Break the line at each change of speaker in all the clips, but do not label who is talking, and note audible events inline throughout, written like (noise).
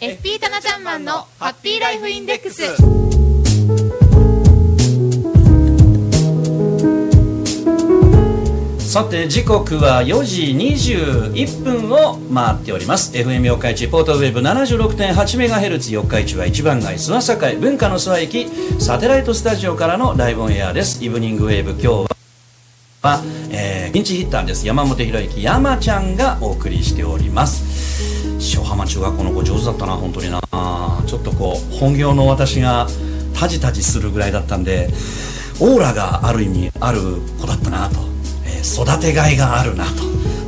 FP タナちゃんマンのハッピーライフインデックス
さて時刻は4時21分を回っております FM 四日市ポートウェブ 76.8MHz 四日市は一番街諏訪境文化の諏訪駅サテライトスタジオからのライブオンエアですイブニングウェーブ今日は、えー、ピンチヒッターです山本博之山ちゃんがお送りしております小浜中学校の子上手だったな本当になちょっとこう本業の私がタジタジするぐらいだったんでオーラがある意味ある子だったなと、えー育てがいがあるなと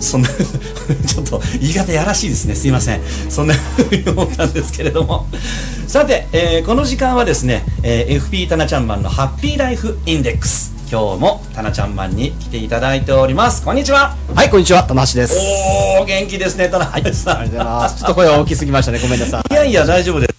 そんな (laughs) ちょっと言い方やらしいですねすいませんそんなふうに思ったんですけれどもさて、えーこの時間はですね、えー FP タナちゃんマンのハッピーライフインデックス今日もタナちゃんマンに来ていただいておりますこんにちは
はい、こんにちは、玉橋です。
おお元気ですねタナさん
ありがとうございます。ちょっと声は大きすぎましたね、ごめんなさい。
いやいや、大丈夫ですよ。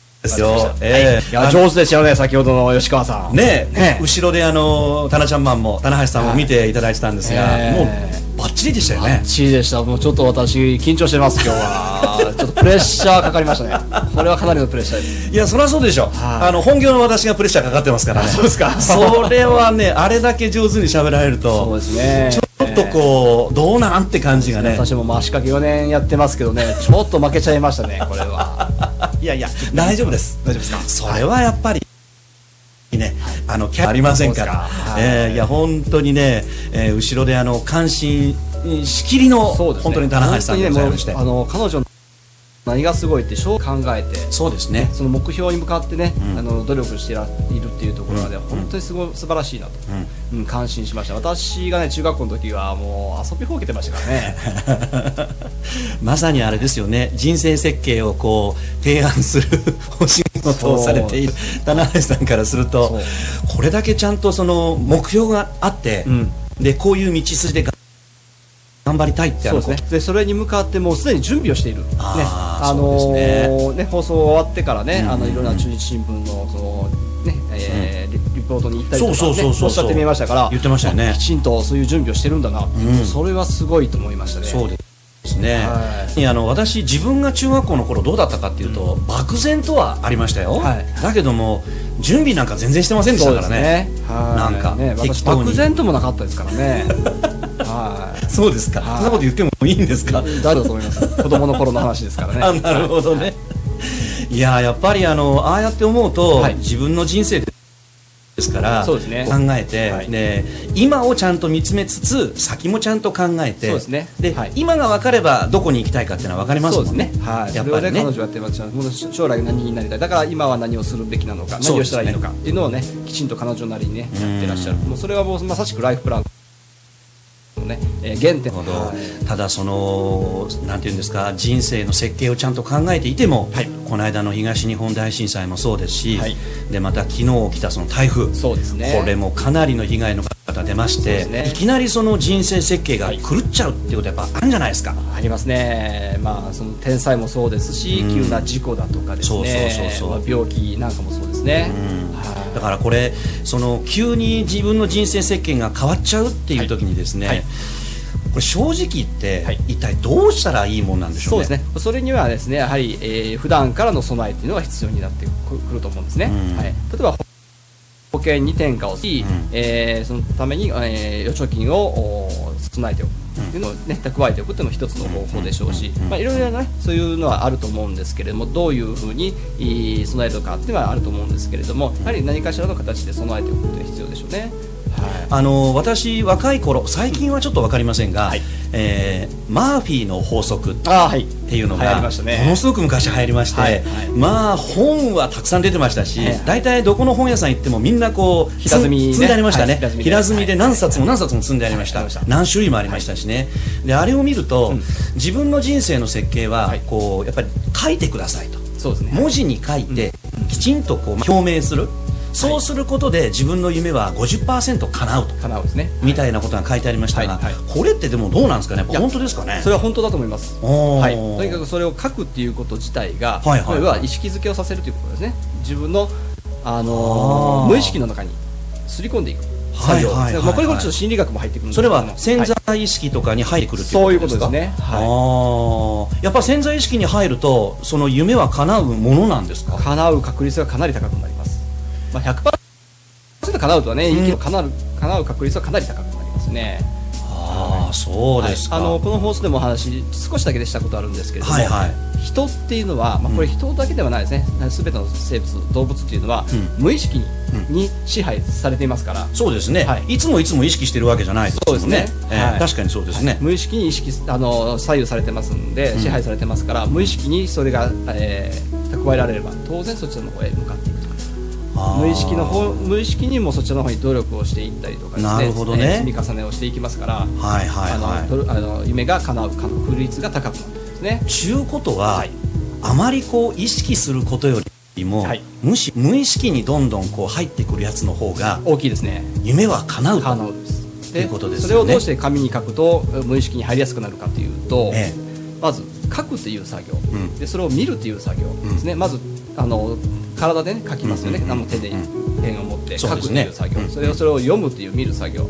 ええ
いや、上手でしたよね、先ほどの吉川さん。
ねえ
ねえ
後ろであの、タナちゃんマンも、棚橋さんも見ていただいてたんですが、
はい
もう
え、
バッチリでしたよ
バッ
ね。
チリでした。もうちょっと私、緊張してます、今日は。ちょっとプレッシャーかかりましたね。これはかなりのプレッシャーです。
いや、そりゃそうでしょ。
はい
あの、本業の私がプレッシャーかかってますからね。
そうですか
それはね、あれだけ上手に喋られる
そう
と
で、すね。
ちょっとこう、どうなんって感じがね。
私もまあ足掛け4年やってますけどね、ちょっと負けちゃいましたね、これは。
いやいや、大丈夫です。
大丈夫ですか
それはやっぱり。ね、あのキャありませんから、
そうですか
え
は
ー
い
いや本当にね、えー後ろであの関心しきりの、
そうですね。
本当に棚橋さんでございまして、
本当にねもうあの、彼女の何がすごいって、考えて、
そうですね
その目標に向かってね、
うん
あの努力してらいるっていうところがね、
うん
本当にすごい素晴らしいなと、
う
うん感心しました私がね中学校の時はもう遊びほうけてましたから
(laughs)
ね
(laughs) まさにあれですよね人生設計をこう提案するお仕事をされている棚橋さんからするとこれだけちゃんとその目標があって、
うん
でこういう道筋でが頑張りたいってあ
そう
の
ですねでそれに向かってもうすでに準備をしているね
あー
の
そうですね
ーね放送終わってから
うん
ね、
うんうん
あのいろんな中日新聞のそのね、えーリリポートに行ったりとか、ね、
そうそうそうそう
おっしゃってみましたから
言ってましたよね
あきちんとそういう準備をしてるんだな、
ん
それはすごいと思いましたね
そうですね、
はい
やあの私自分が中学校の頃どうだったかっていうと、漠然とはありましたよ、
はい
だけども準備なんか全然してませんでしたからね
そうですはい
なんか
ね、
適
私
当に
漠然ともなかったですからねはい
そうですか、
はい
そんなこと言ってもいいんですか、
誰だと思います子供の頃の話ですから
(laughs) あ
ね
なるほどね、い、ややっぱりあのああやって思うと、
はい
自分の人生ですから
そうですね
考えて、
はい
で今をちゃんと見つめつつ先もちゃんと考えて
そうですね
で
はい
今が分かればどこに行きたいかっていうのは分かります
そ
も
うです
んね
ねはい
や
そ
っ
れ
ぱ
を
り
ね
ね
彼女はやってますもう将来何になりたいだから今は何をするべきなのか
そう
何
で
を
す
し
ね
たらいいのかっていうのをねきちんと彼女なりにね
うん
やってらっしゃるもうそれはもうまさしくライフプランのね、えー原
な
点
るほど
はい
ただそのなんていうんですか人生の設計をちゃんと考えていても、
はい
この間の東日本大震災もそうですし、
はい
でまた昨日起きたその台風
そうですね
これもかなりの被害の方出まし
そうで
て、
すね
いきなりその人生設計が
はい
狂っちゃうっていうことやっぱあるんじゃないですか、
ありますね、まあ、その天災もそうですし、
うん
急な事故だとかです
そ
ね
うそうそうそう
まあ病気なんかもそうですね、
うん
はい
だからこれその急に自分の人生設計が変わっちゃうっていう時にですね、
はい
これ正直言って、
はい
一体どうしたらいいもんなんでしょ
そうう
ね
ですねそれにはですねやはり、えー普段からの備えっていうのが必要になってくくると思うんですね、
うん
はい、例えば保保険に転嫁をし、
うん
えーそのために、えー預貯金をおー備えておくっていうのを、ね、蓄えておくっていうのも一つの方法でしょうし
うん、
まあ、いろいろな、ね、そういうのはあると思うんですけれどもどういうふうにえー備えるのかっていうのはあると思うんですけれどもやはり何かしらの形で備えておくっていうのは必要でしょうね。はい
あの私、若い頃最近はちょっと分かりませんが、えーマーフィーの法則っ
あはい、って
いうの
流行
が
り
も
ましたね
のすごく昔流行りまして、
はいはい
まあ本はたくさん出てましたし、
はいはい
大体どこの本屋さん行ってもみんなこう
平積みね
積んでありましたね、
はい平積みで
平積みで何冊も何冊も積んでありました、
はいありました
何種類もありましたしね、であれを見ると、自分の人生の設計は
はい
こうやっぱり書いてくださいと。
そうですね
文字に書いてきちんとこう表明するそうすることで自分の夢は50%叶うと
叶うですね
みたいなことが書いてありましたが、
はいはい
これってでもどうなんですかね
いや
本当ですかね
それは本当だと思います、
おー
はい、とにかくそれを書くっていうこと自体が、
はいはいはい
要は意識づけをさせるということですね自分の、あ
あ
の
ー
ー無意識の中にすり込んでいく
はい
作業
はいはい
まあこれこれちょっと心理学も入ってくるんです
そ
け
れ
ども
は潜
はい
在意識とかに入ってくるって
そういうこと
です
です
か
ね
あ
は
ーやっぱ潜在意識に入るとその夢は叶うものなんですか
い叶う確率がかなり高くなりますまあ100%叶うとはね、
うん
いいけど叶う叶う確率はかなり高くなりますね
ああそうですか、
はいあのこの放送でもお話少しだけでしたことあるんですけれども、
はいはい
人っていうのは、まあ、これ人だけではないですね、すべての生物動物っていうのは、
う
無意識に,、
う
に支配されていますから、
そうですね、、
はい
つもいつも意識してるわけじゃないですもんね
そうですね
えー
はい
確かにそうですね、
無意識に意識あの左右されてますんで、
ん
支配されてますから無意識にそれが、えー蓄えられれば当然そちらの方へ向かっていく
あー
無意識の方無意識にもそちらの方に努力をしていったりとかですね
なるほどね
えー積み重ねをしていきますから、
はいはいはい
あのどあの夢が叶う確率が高くなるんですね。
ちゅうことは、
はい
あまりこう意識することよりも、
はい
むし無意識にどんどんこう入ってくるやつの方が
大きいですね
夢は叶うと
可能です。
ということですよね
それをどうして紙に書くと無意識に入りやすくなるかというと、
え
まず書くという作業、
ん
でそれを見るという作業ですね、まずあの体で、ね、書きますよね、
うん
あの手でペンを持って
そ
書
う
く
で
と
すね
いう作業、
うん
それをそれを読むという見る作業、
ん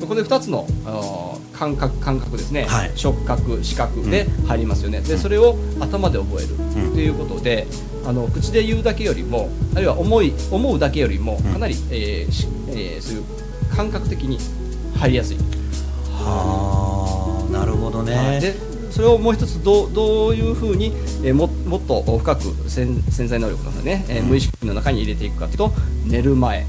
ここで2つのあの感覚感覚ですね、
はい
触覚視覚で入りますよね、でそれを頭で覚える
ん
ということで、あの口で言うだけよりもあるいは思い思うだけよりもかなり、えーしえーそういう感覚的に入りやすい。
はあなるほどね、
はいでそれをもう一つどうどういうふうに、えーももっと深く潜潜在能力の方ね、えー無意識の中に入れていくかというと寝る前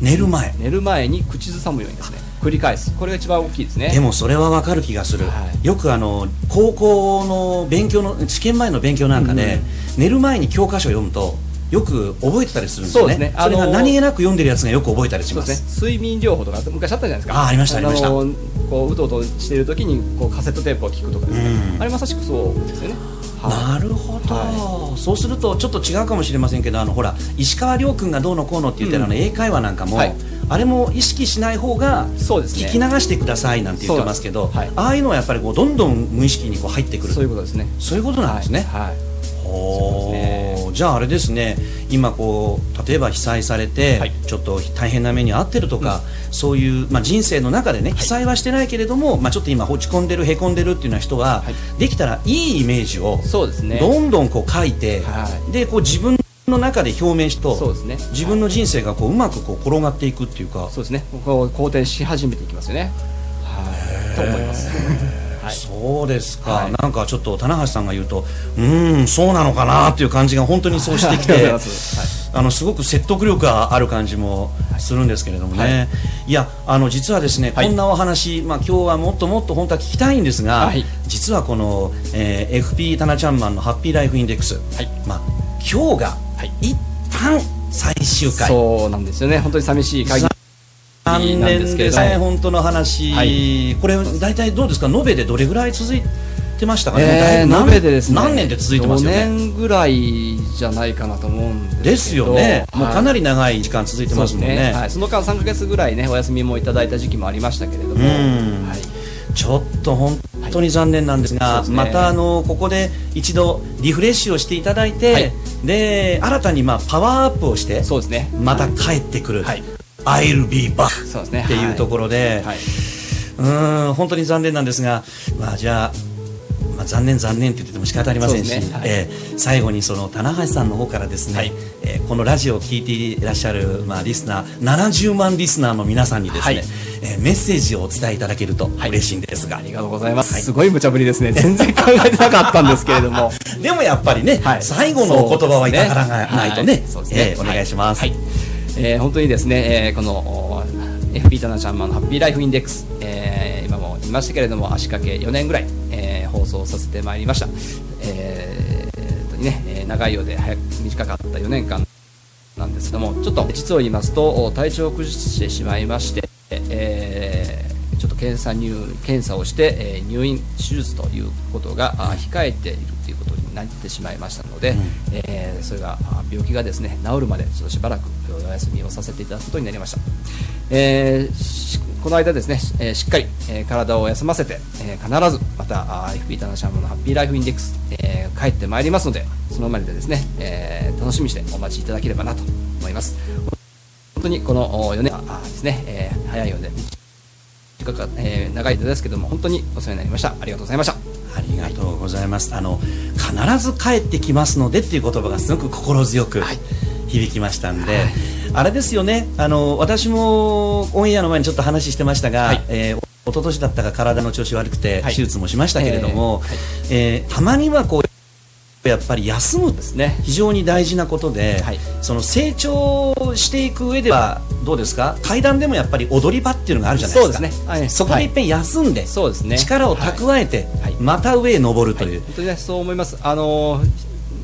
寝る前
寝る前に口ずさむようにですね繰り返すこれが一番大きいですね
でもそれはわかる気がする、
はい
よくあの高校の勉強の試験前の勉強なんかで、寝る前に教科書を読むとよく覚えてたりするんですね
そうですねあの
それが何気なく読んでるやつがよく覚えたりし
そう
ま
ですすね睡眠療法とかって昔あったじゃないですか
あーありましたありました
のこううとうとしている時にこうカセットテープを聞くとかですね、
うん
あれまさしくそうですよねは
なるほど、
は
そうするとちょっと違うかもしれませんけどあのほら石川遼君がどうのこうのって言ってる、
うん
あの英会話なんかも、
はい
あれも意識しない方が
いそうですね
聞き流してくださいなんて言ってますけど、
そうなんです
ああいうのはやっぱりこうどんどん無意識にこう入ってくる
そういうことですね
そういうことなんですね。
はい、はい
ほ
そうです
ーじゃああれですね今こう例えば被災されて、
はい
ちょっと大変な目に遭ってるとか、そういう、まあ、人生の中でね被災はしてないけれども、まあ、ちょっと今落ち込んでるへこんでるっていうような人は、
はい
できたらいいイメージを
そうですね
どんどんこう書いて、
は
でこう自分の中で表明し
そう
と
ですね
自分の人生がこううまくこう転がっていくっていうか
そうですね。こう好転し始めていきますよね。はい。と思います。はい。
そうですか、
はい
なんかちょっと棚橋さんが言うとうーんそうなのかなっていう感じが本当にそうしてき
(laughs) あり
て (laughs)
がとうございます
あのすごく説得力がある感じもするんですけれどもね、、
はい
やあの実はですね、
はい
こんなお話、まあ、今日はもっともっと本当は聞きたいんですが、
はい
実はこの、えー FP タナちゃんマンのハッピーライフインデックス、
い
まあ、今日が
はい
一旦最終回。
そうなんですよね。本当に寂しい会議
残念
なんですけれ
です
ども
ね、本当の話、
はい
これ、大体どうですか、延べでどれぐらい続いてましたかね、
えー、
もうだいぶ
鍋でですね。
何年で続いてますよ
五
ね。
年ぐらいじゃないかなと思うんですけど。
ですよね、もうか
り
なり長い時間続いてますもんね。
はい。その間三ヶ月ぐらいね、お休みもいただいた時期もありましたけれども。
ん
はい。
ちょっと本当に残念なんですが、
はいそうですね
またあのここで一度リフレッシュをしていただいて、
はい
で新たにまあパワーアップをして、
そうですね。
また
はい
帰ってくる、
はい
I'll be back
そうですね。
っていうところで、
はい。はいう
ーん本当に残念なんですが、まあ、じゃあ、まあ、残念残念って言ってても仕方ありませんし、
そうですねはい
えー最後にその棚橋さんの方からですね、
はい
えーこのラジオを聞いていらっしゃる、まあ、リスナー70万リスナーの皆さんにですね、
はい
えーメッセージをお伝えいただけると嬉しいんですが、
ありがとうございます。すごい無茶ぶりですね。全然考えてなかったんですけれど
(laughs)
も。
でもやっぱりね、
はい
最後のお言葉はいただかないとね,、
そうですねはい
えー
そうです
お
ね
願いします。
はいはいえー本当にですね、えーこのお FP タナちゃんマンのハッピーライフインデックス、えー今も言いましたけれども足掛け4年ぐらい、えー放送させてまいりました、えーえーとねえー長いようで早く短かった4年間なんですけどもちょっと実を言いますとお体調を崩してしまいまして、えーちょっと検査入検査をして、えー入院手術ということがあ控えているということになってしまいましたので、えーそれがあ病気がですね治るまでちょっとしばらくお休みをさせていただくことになりました、えーしこの間ですね、えーしっかり、えー体を休ませて、えー必ずまたあ FP タナシャムのハッピーライフインデックス、えー帰ってまいりますのでそのまででですね、えー楽しみにしてお待ちいただければなと思います本当にこの4年間あですね、えー早いようで短か、えー長い間ですけども本当にお世話になりましたありがとうございました
ありがとうございます。あの必ず帰ってきますのでっていう言葉がすごく心強く
はい
響きましたんで、あれですよね。あの私もオンエアの前にちょっと話してましたが、
はい
えー一昨年だったか体の調子悪くて
は
手
い
術もしましたけれども、えーたまにはこうやっぱり休む
ですね
非常に大事なことで、
はい
その成長していく上ではどうですか階段でもやっぱり踊り場っていうのがあるじゃないですか
そうですねはい
そこでいっぺん休んで、
そうですね
力を蓄えて、
はい
また上へ登るという、
本当にねそう思いますあの、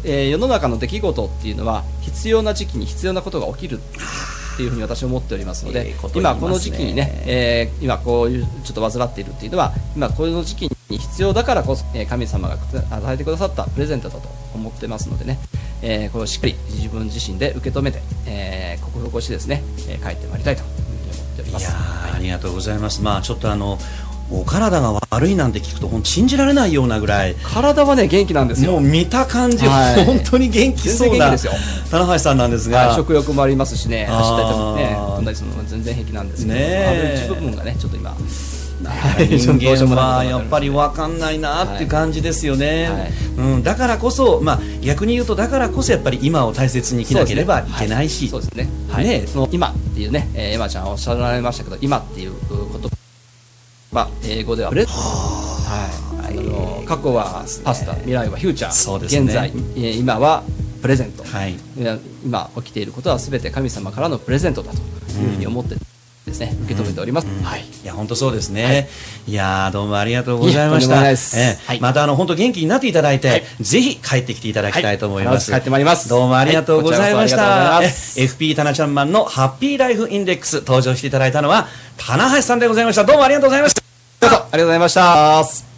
えー世の中の出来事っていうのは必要な時期に必要なことが起きるっていうふうに私は思っておりますので、
ええこと言いま
今
すね
この時期にね、えー今こういうちょっと煩っているっていうのは今この時期に必要だからこそ、えー神様がくだ与えてくださったプレゼントだと思ってますのでね、えーこれをしっかり自分自身で受け止めて、えー、克服をしてですね、えー帰ってまいりたいというふうに思っておりま
い
す
や。ーありがとうございますまあちょっとあのお体が悪いなんて聞くと本当信じられないようなぐらい
体はね元気なんですよ。
もう見た感じ、
はい
本当に元気そうな
全然元気ですよ
棚橋さんなんですが、
はい食欲もありますしね、
あー
走ったりとかね、飛んだりするのも全然平気なんですけど、
ねえ
歩く部分がね、ちょっと今、 (laughs) はいち
人
ょっとどうしようも
間
ない
はやっぱり分かんないなっていう感じですよね、
はいはい
うん、だからこそ、まあ、逆に言うとだからこそやっぱり今を大切に生きなければいけないし、
そうですね、はい
ねえ
その今っていうね、えー、エマちゃんおっしゃられましたけど、今っていう言葉、英語ではプレはい、あの過去はパスタ、未来はフューチャー、
そうですね
現在、えー今はプレゼント、
はい
いや今起きていることはすべて神様からのプレゼントだというふうに思ってですね、受け止めております。はい
いや本当そうですね、い、やーどうもありがとうございまし
いえとんでも
た
ないです
ええ
はい
またあの本当元気になっていただいて、
はい
ぜひ帰ってきていただきたいと思います、
はい必ず帰ってまいります
どうもありがとうございました、
はいこちらこそありがとうございます
え FP タナちゃんマンのハッピーライフインデックス登場していただいたのは棚橋さんでございましたどうもありがとうございました
どうぞありがとうございました。